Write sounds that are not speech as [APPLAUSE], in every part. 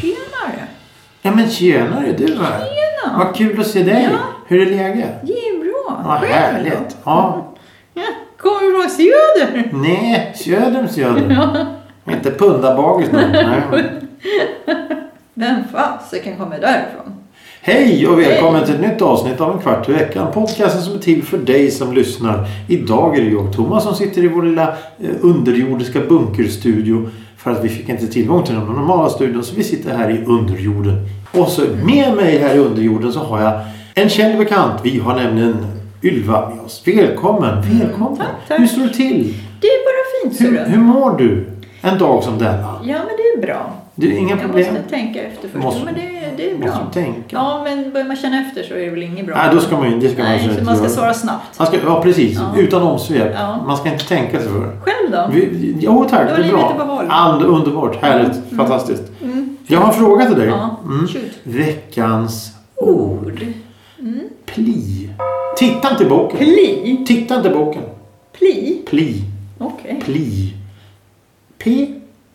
Tjenare! Ja men tjenare du här. Tjena. Vad kul att se dig. Ja. Hur är läget? Det är bra. Vad Själv härligt. då? Ja. Ja, Kommer du från Söder? Nej, söder söder. Ja. Inte pundabagis [LAUGHS] nu. Nej. Vem fasiken kommer därifrån? Hej och välkommen till ett nytt avsnitt av En kvart i veckan. Podcasten som är till för dig som lyssnar. Idag är det jag och Thomas som sitter i vår lilla eh, underjordiska bunkerstudio. För att vi fick inte tillgång till den normala studion så vi sitter här i underjorden. Och så med mig här i underjorden så har jag en känd bekant. Vi har nämligen Ylva med oss. Välkommen, välkommen. Mm, Tack, tack. Hur står det till? Det är bara fint ser Hur, du. hur mår du en dag som denna? Ja men det är bra. Du, inga Jag problem? måste tänka efter först. Måste- Jo, men det, det är Måste bra. du tänka? Ja men börjar man känna efter så är det väl inget bra. Nej, då ska man ju... Det ska man Nej, absolut så man ska göra. svara snabbt. Man ska, ja, precis. Ja. Utan omsvep. Ja. Man ska inte tänka sig för. Själv då? Vi, jo tack, Det var det är livet bra. i behåll. And, underbart, härligt, fantastiskt. Mm. Jag har en fråga till dig. Ja, Mm. shoot. Veckans Ord. pli. Titta inte i boken. Mm. Pli. Titta inte i boken. Pli. Pli. Okej. Pli.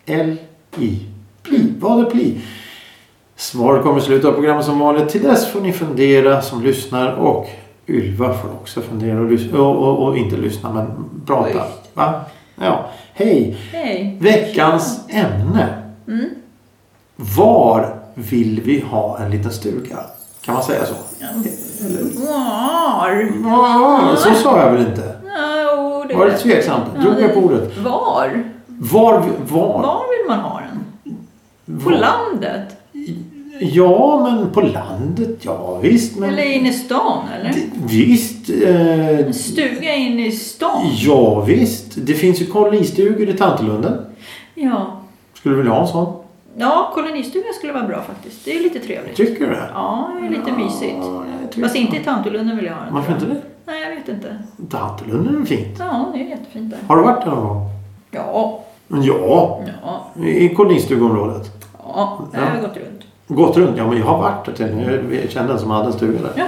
P-L-I. Pli. Vad är pli? Svar kommer i slutet av programmet som vanligt. Till dess får ni fundera som lyssnar och Ylva får också fundera och, lys- och, och, och inte lyssna men prata. Schysst. Va? Ja. Hej! Hej. Veckans ämne. Mm. Var vill vi ha en liten stuga? Kan man säga så? Var. Ja, Så sa jag väl inte? Ja, det Var det tveksamt? Drog jag på ordet? Var? Var, var? Var vill man ha den? På var- landet? Ja, men på landet, ja visst. Men Eller inne i stan eller? Visst. Eh, En stuga inne i stan? ja, visst. Det finns ju kolonistugor i Tantelunden. Ja. Skulle du vilja ha en sån? Ja, kolonistugan skulle vara bra faktiskt. Det är lite trevligt. Tycker du det? Ja, det är lite mysigt. Ja, jag tycker Fast inte det. i Tantolunden vill jag ha den. Varför inte det? Nej, jag vet inte. Tantelunden är fint. Ja, det är jättefint där. Har du varit där någon gång? Ja, Ja, ja, i kolonistugområdet. ja. Där har jag gått runt. Gått runt? Ja, men jag har varit där till nu. Jag kände en som hade en stuga där. Jaha.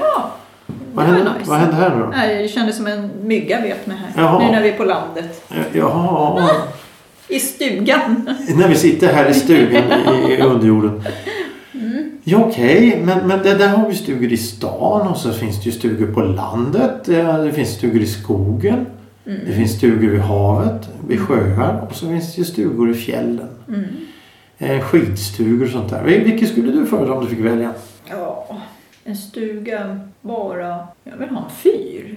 Vad det var hände, nice. vad hände här nu då? Nej, det kändes som en mygga vet mig här. Jaha. Nu när vi är på landet. Jaha, I stugan. när vi sitter här i stugan i [LAUGHS] i underjorden. Ja, okej, men, men det, där har vi stugor i stan och så finns det ju stugor på landet. eh, Det finns stugor i skogen. Det finns stugor vid havet, vid sjöar och så finns det ju stugor i fjällen. Mm. Eh, Skidstugor och sånt där. Vil- Vilket skulle du föredra om du fick välja? Ja, en stuga bara... Jag vill ha en fyr.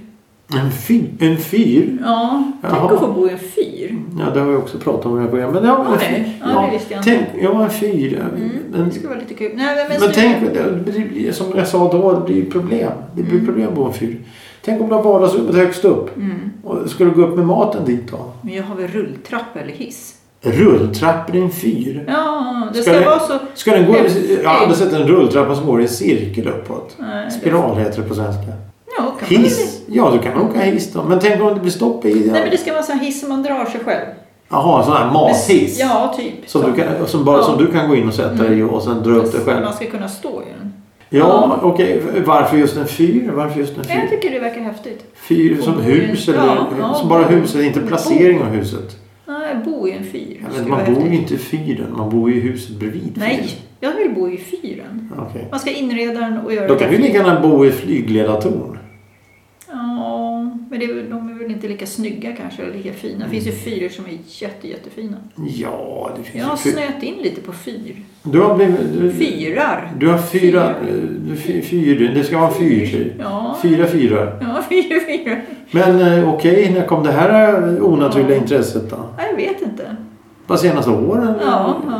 En, fi- en fyr? Ja, tänk Jaha. att få bo i en fyr. Ja, det har vi också pratat om i det här programmet. Men ja, Okej, ja, det visste jag inte. tänk, jag Mm. var en fyr. Men, Mm, Det skulle vara lite kul. Nej, men, men stuga- tänk, det blir- som jag sa då, det blir problem. Det blir problem på en fyr. Tänk om du har vardagsrummet högst upp. Mm. Och ska du gå upp med maten dit då? Men jag har väl rulltrappa eller hiss? Rulltrappor i en fyr? Ja, det Ska ska, det- vara så... Ska den gå, jag har Nej. aldrig sett en rulltrappa som går i en cirkel uppåt. Nej, det- Spiral heter det på svenska. Ja, kan Man... Hiss? Ja, du kan väl åka hiss då. Men tänk om det blir stopp i... Nej, men det ska vara en sån här hiss som man drar sig själv. Jaha, en sån här mathiss? Ja, Mm. typ. Som, du kan, som, bara, Ja. som du kan gå in och sätta dig i och sen dra upp dig själv? Man ska kunna stå i den. Ja, okej. Varför just en fyr? Varför just en Nej, Jag fyr? tycker det verkar häftigt. Fyr som hus eller Ja, ja. som bara huset, inte placering av huset. Nej, bo i en fyr. Jag vet, skulle inte, vara man bor ju häftigt. inte i fyren, man bor ju i huset bredvid. Nej, fyren. jag vill bo i fyren. Okej. Man ska inreda den och göra Då det kan du häftigt. lika gärna bo i flygledartorn. Ja, men det, är väl- de är väl inte lika snygga kanske, eller lika fina. Det finns ju fyrer som är jätte, jättefina. Ja, det finns Jag har ju fyr. snöat in lite på fyr. Du har blivit... Du, Fyrar! du har fyra... Du, fyr, fyr, det ska vara en fyr. Ja, Fyra fyrar. ja [LAUGHS] fyra, fyra. Men eh, okej, när kom det här eh, onaturliga intresset då? Ja, Jag vet inte. Bara senaste åren? Ja, ja.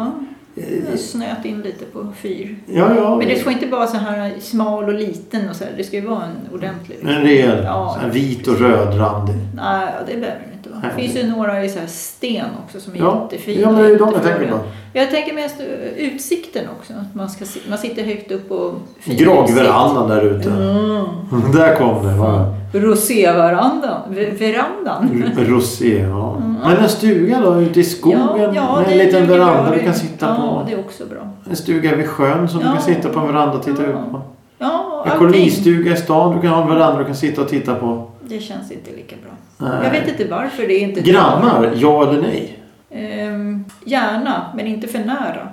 Jag har Eh, snöat in lite på fyr. Ja, ja. Men det får inte vara så här smal och liten och så här. Det ska ju vara en ordentlig. En rejäl. Ja. En vit och rödrandig. Nej, det behöver det inte vara. Det finns ju några i så här sten också som är Ja. jättefina. Ja, men det är ju de jag jättefina. tänker på. Jag tänker mest eh, utsikten också. Att man, ska, si- man sitter högt upp och... fin Gragverandan där ute. Mm. Där kom det. Va? Roséverandan. Ve- Verandan. R- Rosé, ja. Men en stuga då ute i skogen med en Mm. det liten duger bra veranda du det. kan sitta Ja, på. det är också bra. En stuga vid sjön som du Ja. kan sitta på en veranda och titta Ja. ut på. Ja, En allting. kolonistuga i stan du kan ha en veranda du kan sitta och titta på. Det känns inte lika bra. Nej. Jag vet inte varför det är inte Grannar, ja eller nej? Ehm, gärna, men inte för nära.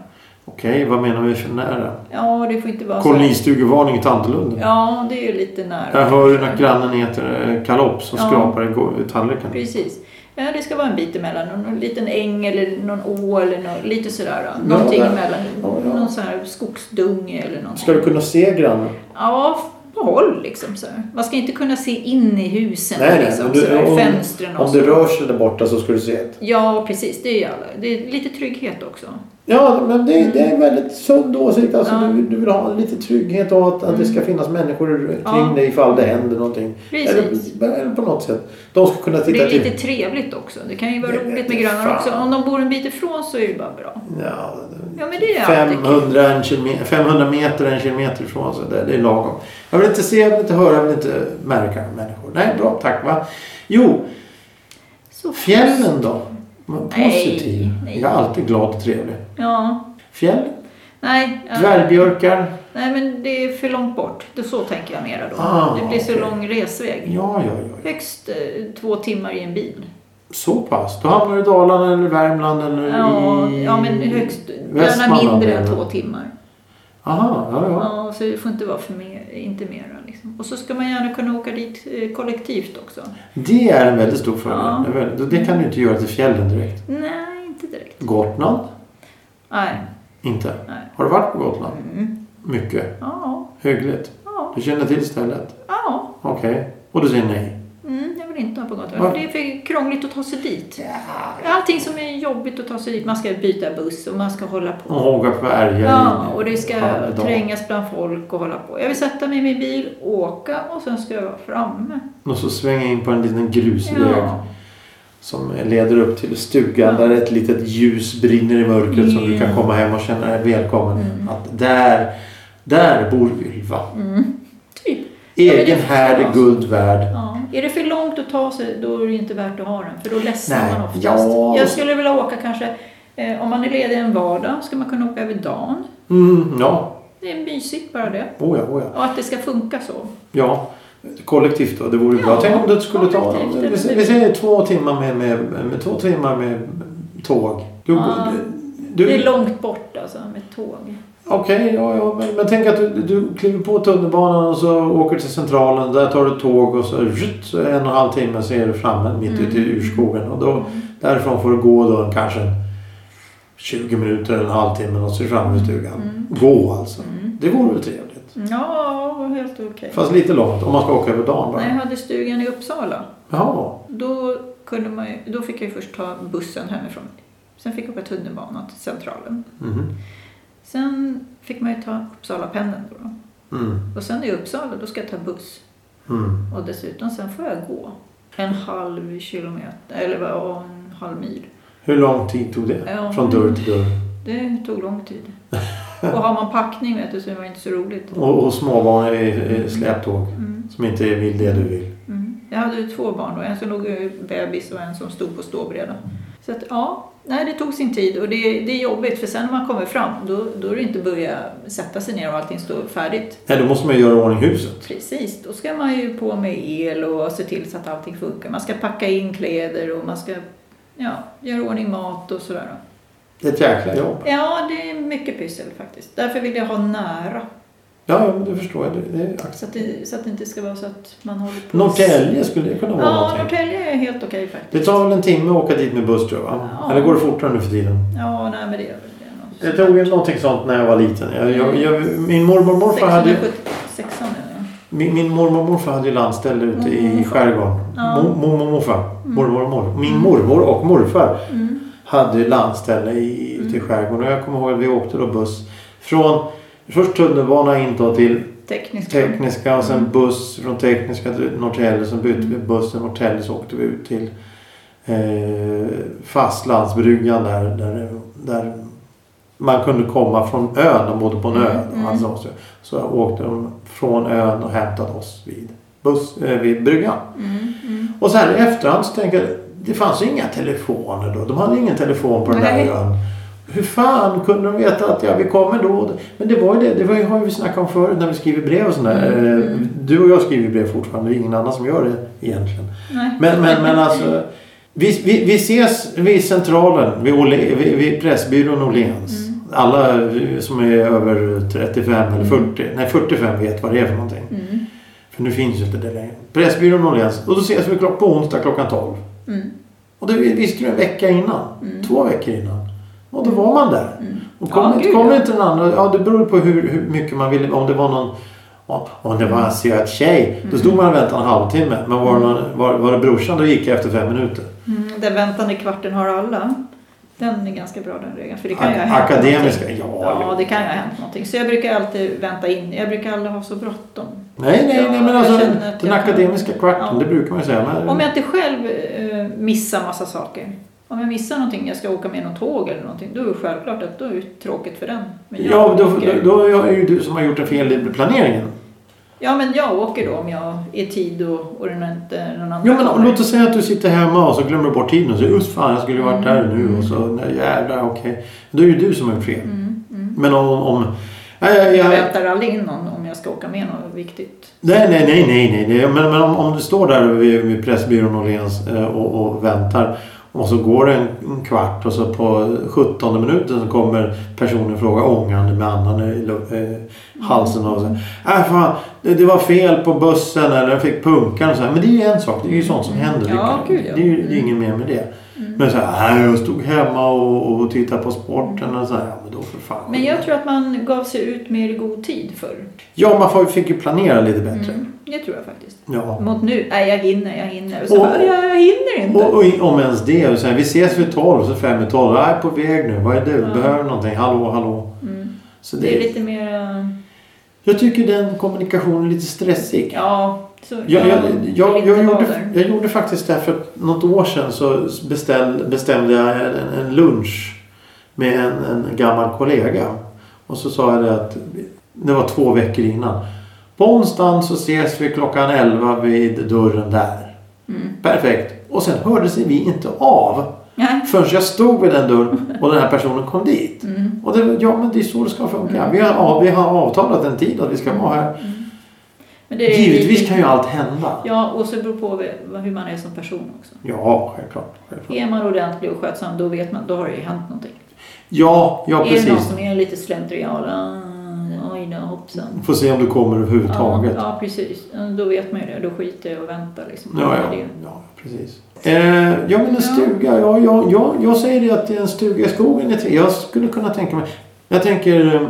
Okej, vad menar vi för nära? Ja, det får inte vara så. Kolonistugevarning i Tandlund. Ja, det är ju lite nära. Jag hör ju när grannen äter eh, kalops och Ja. skrapar i gå- i tallriken. Precis. Ja, det ska vara en bit emellan. Någon- Någon liten äng eller någon å eller nå- lite sådär. då. Ja, Någonting där. emellan. Ja, ja. Någon sån här skogsdunge eller någonting. Ska du kunna se grannen? Ja, på håll liksom. Så här. Man ska inte kunna se in i husen. Nej, nej, liksom, men du- så där, om- fönstren och Om så. det rör sig där borta så ska du se ett. Ja, precis. Det är, ju alla. det är lite trygghet också. Ja, men det, det är en väldigt sund åsikt. Alltså, Mm. Ja. Mm. du, du vill ha lite trygghet och att, att det ska finnas människor kring Ja. dig ifall det händer någonting. Precis. Eller, eller på något sätt. De ska kunna Det titta är till... lite trevligt också. Det kan ju vara Det- roligt det- med grannar fan. också. Om de bor en bit ifrån så är det bara bra. Ja, Ja, men det är alltid kul. 500, en kilometer, 500 meter, en kilometer ifrån. Så det, det är lagom. Jag vill inte se, jag vill inte höra, jag vill inte märka människor. Nej, bra, tack va. Jo, Så fjällen då? Vad Nej, Positiv. nej. Jag är alltid glad och trevlig. Ja. Fjäll, Nej. ja. dvärgbjörkar. Nej, men det är för långt bort. Då- Så tänker jag mera då. Ah, det blir så okej. lång resväg. Ja, ja, ja. Högst eh, två timmar i en bil. Så pass? Då hamnar du i Dalarna eller Värmland eller Ja, i... ja men högst, gärna Västmanland mindre än eller? två timmar. Aha, ja, ja. Ja, så det får inte vara för mer, inte mera. Liksom. Och så ska man gärna kunna åka dit eh, kollektivt också. Det är en väldigt stor fördel. Ja. Det är väldigt- Det kan du inte göra till fjällen direkt. Nej, inte direkt. Gotland? Nej. Inte. Nej. Har du varit på Gotland? Mm. Mycket. Ja, Hyggligt. ja, Du känner till stället? ja. Okej. Och du säger nej? Mm, jag vill inte ha på gatan. Varför? För Det är för krångligt att ta sig dit. Allting som är jobbigt att ta sig dit. Man ska byta buss och man ska hålla på. Och hångar på älgar i- Ja, och det ska halv dag. trängas bland folk och hålla på. Jag vill sätta mig i min bil, åka och sen ska jag vara framme. Och så svänga in på en liten grusväg Ja. som leder upp till stugan där ett litet ljus brinner i mörkret som du kan komma hem och känna dig välkommen. Mm. Att där, där bor Ylva. Typ. Ja, men det- Egen härd är guld värd. Ja. Är det för långt att ta sig, då är det inte värt att ha den. För då ledsnar Nej, man oftast. ja. Jag skulle vilja åka kanske, eh, om man är ledig en vardag, ska man kunna åka över dagen. Mm, ja, Det är mysigt bara det. oh ja, oh ja. Och att det ska funka så. ja. Kollektivt då, det vore Ja, bra. Tänk om du skulle ta... kollektivt, Vi, eller sä- hur? vi säger två timmar med, med, med, två timmar med tåg. Du, Ja. du, Det är du, långt bort alltså med tåg. Okej, ja, ja, men, men tänk att du, du kliver på tunnelbanan och så åker till centralen. Där tar du tåg och så, rutt, så en och en halv timme så är du framme mitt ute i urskogen. Och då, Mm. därifrån får du gå då kanske 20 minuter, en halvtimme och så är du framme vid stugan. Gå alltså. Det vore väl trevligt. Mm. Ja, helt okej. Fast lite långt om man ska åka över dagen bara. När jag hade stugan i Uppsala, Jaha. då, kunde man ju, då fick jag ju först ta bussen hemifrån. Sen fick jag åka tunnelbana till Centralen. Mhm. Sen fick man ju ta Uppsalapendeln då. då. Mm. Och sen i Uppsala, då ska jag ta buss. Mm. Och dessutom sen får jag gå en halv kilometer, eller vad, ja, en halv mil. Hur lång tid tog det? Ja. Från dörr till dörr. Det tog lång tid. [LAUGHS] Och har man packning vet du så är det inte så roligt. Och, och småbarn i, i släptåg Mm, som inte vill det du vill. mm. Jag hade ju två barn då, en som låg i bebis och en som stod på ståbrädan. Så att ja, nej det tog sin tid och det, det är jobbigt för sen när man kommer fram då, då är det inte börja sätta sig ner och allting står färdigt. Nej, då måste man ju göra i ordning huset. Precis, då ska man ju på med el och se till så att allting funkar. Man ska packa in kläder och man ska ja, göra i ordning mat och sådär. Det är ett jäkla jobb. Ja, det är mycket pyssel faktiskt. Därför vill jag ha nära. Ja, ja, men det förstår jag. Det, det är Så att det, så att det inte ska vara så att man håller på... Norrtälje skulle det kunna vara Ja, någonting. Norrtälje är helt okej faktiskt. Det tar väl en timme att åka dit med buss tror jag va? Ja. Eller går det fortare nu för tiden? Ja, nej men det är väl det. Jag tog ju någonting sånt när jag var liten. Jag, jag, jag, min mormor och morfar hade ju- 676 är det. min, min mormor och morfar hade ju landställe ute i Mormor. skärgården. Mm. Ja. Mo- Mormor och morfar. Mormor och mor. Min mormor och morfar Mm. hade ju landställe i, ute i skärgården. Och jag kommer ihåg att vi åkte då buss från först tunnelbana in då till Teknisk. Tekniska och sen buss från Tekniska till Norrtälje. Sen bytte vi bussen Norrtälje så åkte vi ut till eh, fastlandsbryggan där, där, där man kunde komma från ön. De bodde på en ö. Mm, Alltså, så, så åkte de från ön och hämtade oss vid, buss, eh, vid bryggan. Mm, mm. Och så här i efterhand så tänker jag, det fanns ju inga telefoner då. De hade ingen telefon på den Nej. där ön. Hur fan kunde de veta att ja, vi kommer då? Men det var ju det, det var ju, har ju vi snackat om förut när vi skriver brev och sådär. Mm. Eh, Du och jag skriver brev fortfarande, det är ingen annan som gör det egentligen. Nej. Men, men, men alltså, vi, vi, vi ses vid Centralen, vid, Åhle, vid, vid Pressbyrån Åhléns. Mm. Alla eh, som är över 35 eller 40, nej 45 vet vad det är för någonting. Mm, För nu finns ju inte det längre. Pressbyrån Åhléns. Och då ses vi klock- på onsdag klockan 12. mm, Och det visste du en vecka innan. Mm. Två veckor innan. Och då var man där. mm. Och kom, Ja, inte, gud, kom ja. inte den andra. Ja, det beror på hur, hur mycket man ville. Om det var någon... ja, Om det var en söt tjej. Då stod man och väntade en halvtimme. Men var det, någon, var, var det brorsan då gick jag efter fem minuter. Mm, den väntande kvarten har alla. Den är ganska bra den regeln. För det kan ju ha A- hänt någonting. akademiska. Ja, Ja, ja. det kan ju ha hänt någonting. Så jag brukar alltid vänta in. Jag brukar aldrig ha så bråttom. Nej, nej, nej. Men Jag alltså den, känner att den jag kan- akademiska kvarten. Ja. Det brukar man ju säga. Men, Om jag inte själv eh, missar massa saker. Om jag missar någonting, jag ska åka med något tåg eller någonting. Då är det självklart att då är det tråkigt för den. Men jag ja, då, då, åker. då är ju du som har gjort en fel i planeringen. ja, men jag åker då om jag är i tid och, och den inte någon annan Jo men om- kommer. låt oss säga att du sitter hemma och så glömmer du bort tiden och så just fan jag skulle ju varit där nu och så nej, jävlar okej. Då är ju du som är fel. Mm, mm. Men om... om nej, nej, Jag nej, väntar aldrig in någon om jag ska åka med något viktigt. nej, nej, nej, nej, nej. Men, men om, om du står där vid, vid Pressbyrån Åhléns eh, och, och väntar och så går det en, en kvart och så på 17 minuten så kommer personen fråga ångande med andan i lu- eh, halsen och så här, äh, fan, det, det var fel på bussen eller den fick punkan och så här. Men det är ju en sak, det är ju sånt som händer. Mm. Ja, det, gud, ja. Mm. det, är ju det är ju inget mer med det. Men så här, "Nej, jag stod hemma och, och tittade på sporten och så här, ja men då för fan. Mm. Men jag tror att man gav sig ut mer i god tid förr. Ja, man får, fick ju planera lite bättre. Mm, det tror jag faktiskt. Ja. Mot nu, nej jag hinner, jag hinner. Och så Och- bara, jag, jag hinner inte. Och, och i- om ens det, och så här, vi ses vid 12, så fem i 12, jag är på väg nu, vad är du, Ja. behöver du någonting, hallå, hallå. mm. Så Det är det, lite mer, eh, jag tycker den kommunikationen är lite stressig. ja. Så, Jag, jag, jag, vill jag, inte vara gjorde, där. jag gjorde faktiskt det här för något år sedan så beställ, bestämde jag en, en lunch med en, en gammal kollega. Och så sa jag det att det var två veckor innan. På onsdagen så ses vi klockan 11 vid dörren där. Mm. Perfekt. Och sen hördes vi inte av Nej. förrän jag stod vid den dörren och den här personen kom dit. Mm. Och det, ja men det är så det ska funka. Vi har, av- vi har avtalat en tid att vi ska vara här. Men det är- Givetvis kan ju allt hända. Ja, och så beror det på vad- hur man är som person också. Ja, självklart. självklart. Är man ordentlig och skötsam, då vet man, då har det ju hänt någonting. Ja, ja är det någon precis. som är lite slentrian, ah, oj då, hoppsan. Får se om du kommer överhuvudtaget. Ja, ja, precis. Då vet man ju det. Då skiter jag och väntar liksom. Ja, ja, Det- ja precis. Eh, ja, men en stuga. Ja, ja, ja, jag säger det att en stuga i skogen är tre- Jag skulle kunna tänka mig... Jag tänker... eh,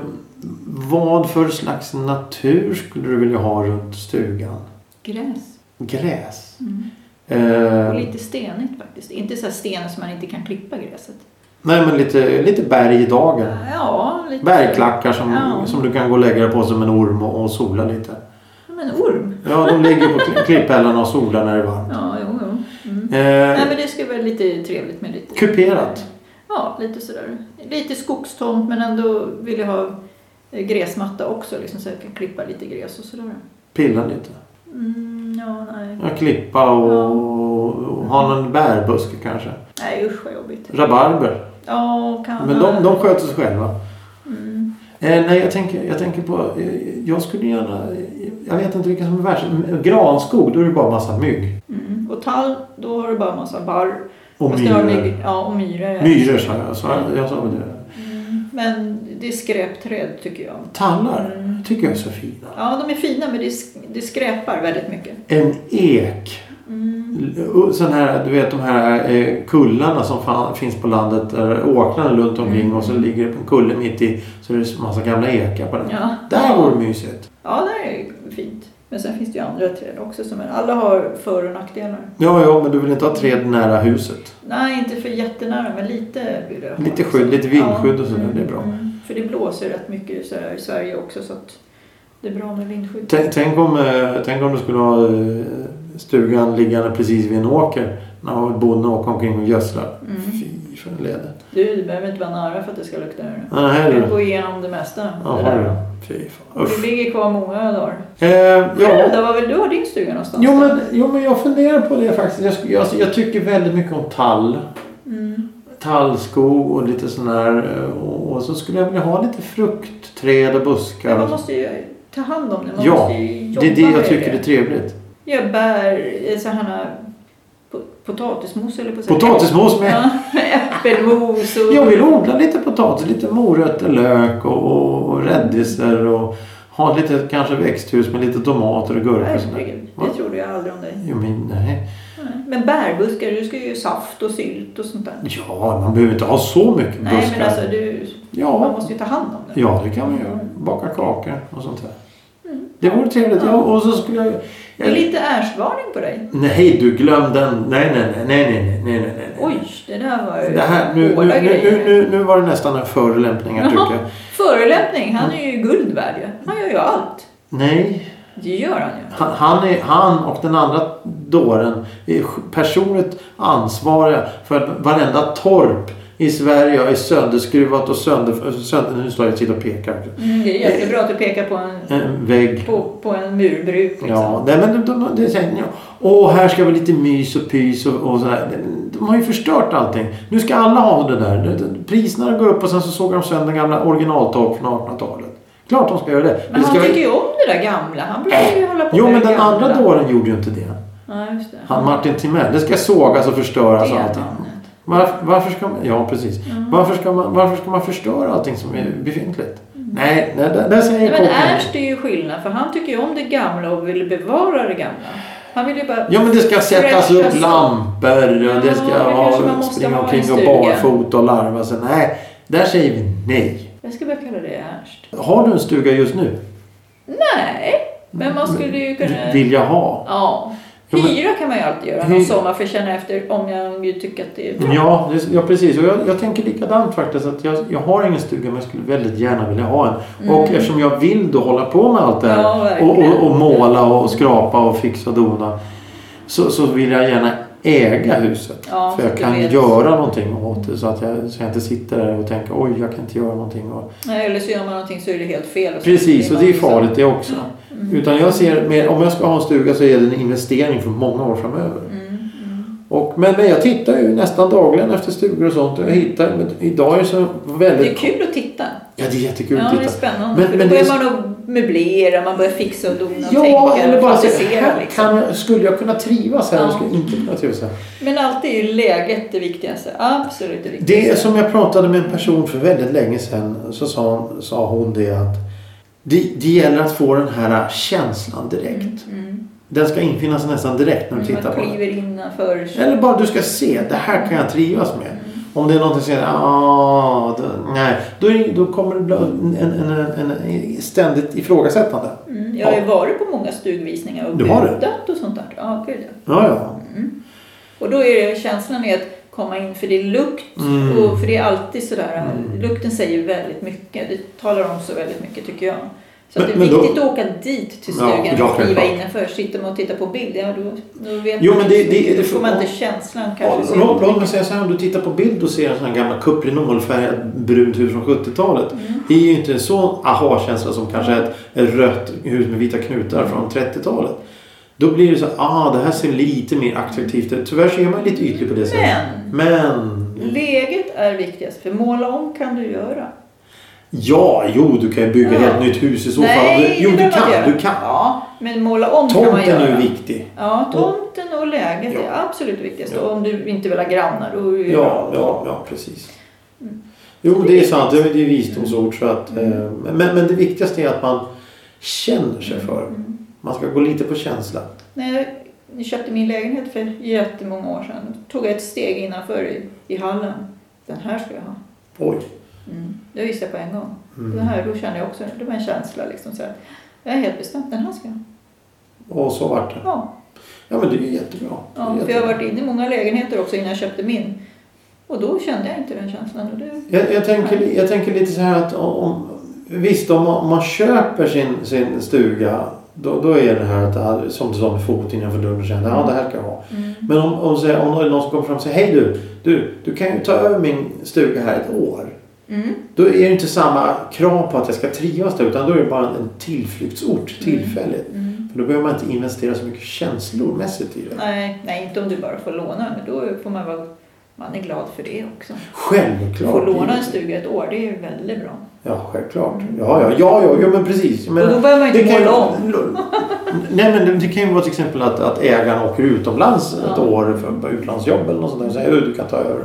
Vad för slags natur skulle du vilja ha runt stugan? Gräs. Gräs? Mm. Eh, Och lite stenigt faktiskt. Inte så här stenar som man inte kan klippa gräset. nej, men lite, lite berg i dagen. Ja, lite. Bergklackar som, Ja. som du kan gå och lägga dig på som en orm och, och sola lite. Som en orm. Ja, de ligger på kli- klipphällarna och solar när det är varmt. Ja, jo, jo. Mm. Nej, Eh, men det skulle vara lite trevligt med lite... Kuperat. Ja, lite sådär. Lite skogstomt men ändå vill jag ha eh, gräsmatta också liksom, så jag kan klippa lite gräs och sådär. Pilla lite. Mm, ja, nej. Ja, klippa och, Ja. och ha någon bärbuske kanske. Nej, usch vad jobbigt. Rabarber. Ja, kan Men de, de sköter sig själva. Mm. Eh, nej, jag tänker, jag tänker på... Eh, jag skulle gärna... eh, Jag vet inte vilken som är värst. M- Granskog, då är det bara massa mygg. Mm. Och tall, då har du bara massa barr. Och Fast det har myror. mycket- Ja, och myror. ja. Myror sa jag. Så jag, jag sa väl det. Mm. Men det är skräpträd tycker jag. Tallar Mm. tycker jag är så fina. Ja, de är fina men det, sk- det skräpar väldigt mycket. En ek. Mm. Och Sån här, du vet de här eh, kullarna som fan, finns på landet, där åkrarna runt omkring Mm. och så ligger det en kulle mitt i så är det massa gamla ekar på den. Ja. Där vore det mysigt. Ja, det är fint. Men sen finns det ju andra träd också. Som alla har för och nackdelar. Ja, ja, men du vill inte ha träd nära huset. Nej, inte för jättenära, men lite vill jag ha. Lite skydd, lite vindskydd och sådär, det är bra. mm. För det blåser rätt mycket så här i Sverige också så att det är bra med vindskydd. Tänk, tänk, om, eh, tänk om du skulle ha eh, stugan liggande precis vid en åker när bonden åker omkring och gödslar. Mm. Fy för den leden. Du, du behöver inte vara nära för att det ska lukta ur. Nej, Du du. kan gå igenom det mesta. det Jaha, där. du. Fy fan. Det Usch. ligger kvar många dagar. Eh, ja. Själv då? Var väl du har din stuga någonstans? Jo men, jo men jag funderar på det faktiskt. Jag, skulle- jag, jag tycker väldigt mycket om tall. Mm. Tallskog och lite sån här. eh, Och, och så skulle jag vilja ha lite fruktträd och Men buskar. man Och, måste ju ta hand om det. Man Ja, måste ju jobba det är det med jag tycker är trevligt. Jag bär eh, sådana po- potatismos eller på Potatismos med. Ja, [LAUGHS] äppelmos och... Jag vill odla lite potatis, lite morötter, lök och, och, och rädisor. Och ha lite kanske växthus med lite tomater och gurkor och sånt där. Herregud, Va? det trodde jag aldrig om dig. Jo men nej. Nej. Men bärbuskar, du ska ju saft och sylt och sånt där. Ja, man behöver inte ha så mycket buskar. Nej, men alltså du... Man ja. måste ju ta hand om det. Ja, det kan man göra. Baka kakor och sånt där. Det vore trevligt. Ja, och så skulle jag... Det är Mm. lite ärsvarning på dig. Nej, du glöm den. Nej, nej, nej, nej, nej, nej, nej, nej, nej. Oj, det där var ju Det här, nu, nu, hårda nu, grejer. nu, nu, nu var det nästan en förolämpning jag Ja, tycker. Förolämpning, han är ju guld värd ju. Han gör ju allt. Nej, Det gör han ju. han, han, är, han och den andra dåren är personligt ansvariga för att varenda torp i Sverige är sönderskruvat och sönder... sönder nu står jag till och pekar. Mm, Det är jättebra att du pekar på en, En vägg. på, på en murbruk liksom. Ja, nej, men de, de, de, säger, ja, åh här ska vi lite mys och pys och, och sådär. De, de har ju förstört allting. Nu ska alla ha det där. De, de, priserna går upp och sen så såg de sönder den gamla originaltorp från 1800-talet. Klart de ska göra det. Men det han ska tycker ju om det där gamla. Han brukar ju hålla på Jo, med men det den gamla. andra dåren gjorde ju inte det. Ja, just det. Han Martin Timell. Det ska sågas och förstöras och allting. namnet. Varför, varför ska man... Ja, precis. Mm. Varför, ska man, varför ska man förstöra allting som är befintligt? Mm. Nej, nej där, där säger Nej, men kocken. Ernst är ju skillnad för han tycker ju om det gamla och vill bevara det gamla. Han vill ju bara... Ja men det ska sättas Fräscha upp så- lampor och det ska Ja, det kanske man ja, måste springa ha i omkring och stugan. barfota och larva sig. Nej, där säger vi nej. Jag ska börja kalla det Ernst. Har du en stuga just nu? Nej, men man skulle ju kunna... Vill jag ha? Ja. Jo, men- Hyra kan man ju alltid göra Hy- någon sommar för att känna efter om jag ju tycker att det är bra. Ja, det, ja precis. Och jag, jag tänker likadant faktiskt. Att jag, jag har ingen stuga men jag skulle väldigt gärna vilja ha en. Och eftersom jag vill då hålla på med allt det här Mm. Ja, verkligen. och, och, och måla och skrapa och fixa och dona. Så, så vill jag gärna äga huset. Ja, för jag du kan vet. göra någonting åt det så att jag, så jag inte sitter där och tänker oj jag kan inte göra någonting. Och, Nej, eller så gör man någonting så är det helt fel. så Precis, blir och man det är liksom- farligt det också. Mm. Utan jag ser, mer- om jag ska ha en stuga så är det en investering för många år framöver. Mm. Och, men, men jag tittar ju nästan dagligen efter stugor och sånt. och Jag hittar, men idag är det så Det är väldigt... kul att titta. Ja, det är jättekul ja, att det är titta. spännande. Men- för men då det är börjar man att möblera, man börjar fixa och dona och Ja, tänka eller och bara så, fantisera. här Liksom. kan jag, skulle jag kunna trivas här? Ja. eller Skulle jag inte kunna trivas här? Men alltid är ju läget det viktigaste. Absolut det viktigaste. Det är som jag pratade med en person för väldigt länge sedan så sa, hon- sa hon det att det, det gäller att få den här känslan direkt. Mm. Den ska infinna sig nästan direkt när du tittar Man på den. kliver innanför. Eller bara du ska se, det här kan jag trivas med. Om det är någonting som säger ah, då, nej, då, är, då kommer det bli en, en, en, en ständigt ifrågasättande. Mm. Jag har ju varit på många stugvisningar och Du har det? budat och sånt där. Ja, gud ja. Ja, ja. Och då är det känslan är att komma in för det är lukt. Mm. Och för det är alltid sådär, lukten säger väldigt mycket. Det talar om så väldigt mycket tycker jag. Så att Men- det är men då- viktigt att åka dit till Ja, stugan ja, och kliva självklart. innanför. Sitter man och tittar på bild, ja då, då vet Jo, man men det- inte så det- mycket. Då det- får man inte känslan Ja, kanske. Låt, så låt mig säga så här, om du tittar på bild och ser en sån här gammal kuprinolfärgad brunt hus från 70-talet. Det är ju inte en sån aha-känsla som kanske ett rött hus med vita knutar från 30-talet. Då blir det så här, ah, det här ser lite mer attraktivt ut. Tyvärr så är man lite ytlig på det sättet. Men Men läget är viktigast. För måla om kan du göra. Ja, jo, du kan ju bygga Ja. helt nytt hus i så fall. Nej, det jo, du behöver man inte göra. kan. Du kan. Ja, men måla om kan man Tomten göra. är ju viktig. Ja, tomten och läget Ja. är absolut viktigast. Ja. Och om du inte vill ha grannar, då är det ju Ja, bra. ja, ja, precis. Jo, det är sant. Det är det är visdomsord. Så att, eh, men, men det viktigaste är att man känner sig för. Man ska gå lite på känsla. När Mm. jag köpte min lägenhet för jättemånga år sedan tog jag ett steg innanför i, i hallen. Den här ska jag ha. Oj. Mm. Mm. Det visste jag på en gång. Det här, då kände jag också, det var en känsla liksom. Så här, jag är helt bestämt, den här ska jag ha. Och så vart det. Ja. Ja, men det är ju jättebra. Det är ja för jag jättebra. har varit inne i många lägenheter också innan jag köpte min. Och då kände jag inte den känslan. Och det, Jag, jag, tänker, li- jag tänker lite så här att om, visst om man, om man köper sin, sin stuga Då, då är det här att, ah, som du sa med foten innanför dörren, känner ja det här kan jag ha. Mm. Men om, om, så- om någon som kommer fram och säger hej du, du, du kan ju ta över min stuga här ett år. Mm. Då är det inte samma krav på att jag ska trivas där utan då är det bara en tillflyktsort tillfälligt. Mm. För då behöver man inte investera så mycket känslomässigt i det. Nej, nej, inte om du bara får låna. Men då får man vara man är glad för det också. Självklart. Få låna en stuga ett år, det är ju väldigt bra. Ja, självklart. Ja, ja, ja, ja, ja men precis. Men, Och då behöver man inte det kan ju- [LAUGHS] måla om. Nej, men det kan ju vara till exempel att, att ägaren åker utomlands ett Ja. år för utlandsjobb eller något sånt där. Och säger "Du, du kan ta över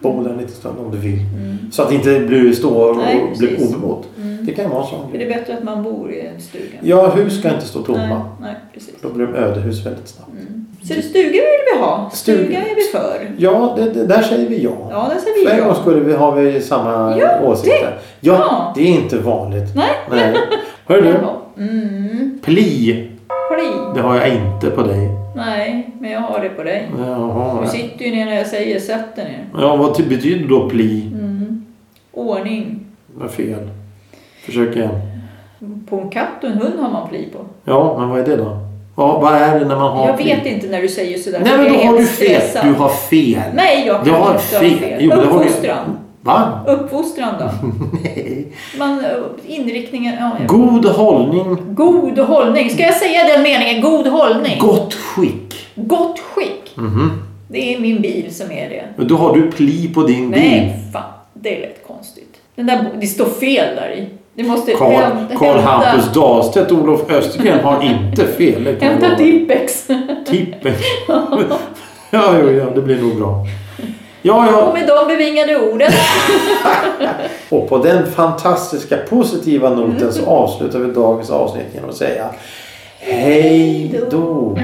bo där en liten stund om du vill. Mm. Så att det inte blir stå och Nej, bli precis. obemott. Mm. Det kan ju vara en sån För grej. det är bättre att man bor i en stuga. Ja, hus ska inte stå tomma. Nej, nej, precis. Då blir de ödehus väldigt snabbt. Mm. Så det stuga vill vi ha. Stuga, Stuga. är vi för. Ja, det, det, där säger vi ja. Ja, där För säger vi en gång ja. skulle vi, har vi samma Ja, åsikter. Ja, Ja. det är inte vanligt. Nej. Nej. Hör du, Jaha. Mm. pli, Pli. det har jag inte på dig. Nej, men jag har det på dig. Du Jaha. sitter ju ner när jag säger sätt dig ner. Ja, vad ty- betyder då pli? Mm. Ordning. Vad fel. Försök igen. På en katt och en hund har man pli på. Ja, men vad är det då? Vad, vad är det när man har jag pli? vet inte när du säger sådär. Nej, för men jag då är har helt du fel. stressad. Du har fel. Nej, jag kan Du har inte ha fel. fel. Jo, men det har du- Uppfostran. Va? Uppfostran då? Nej. Man, eh, inriktningen... Ja, ja. God hållning, God hållning. Ska jag säga den meningen? God hållning. gott skick. Gott skick. Mhm. Det är min bil som är det. Men Då har du pli på din bil. Nej, fan. Det är lite konstigt. Den där, det står fel där i. Du måste Karl, hämta- Karl hämta- Hampus Dahlstedt och Olof Östergren har inte fel. det kan jag Hämta lova. Tippex. [LAUGHS] Tippen. Ja, jo, ja, det blir nog bra. Ja, ja. Och med de bevingade orden. Och på den fantastiska positiva noten Mm. så avslutar vi dagens avsnitt genom att säga Hej då!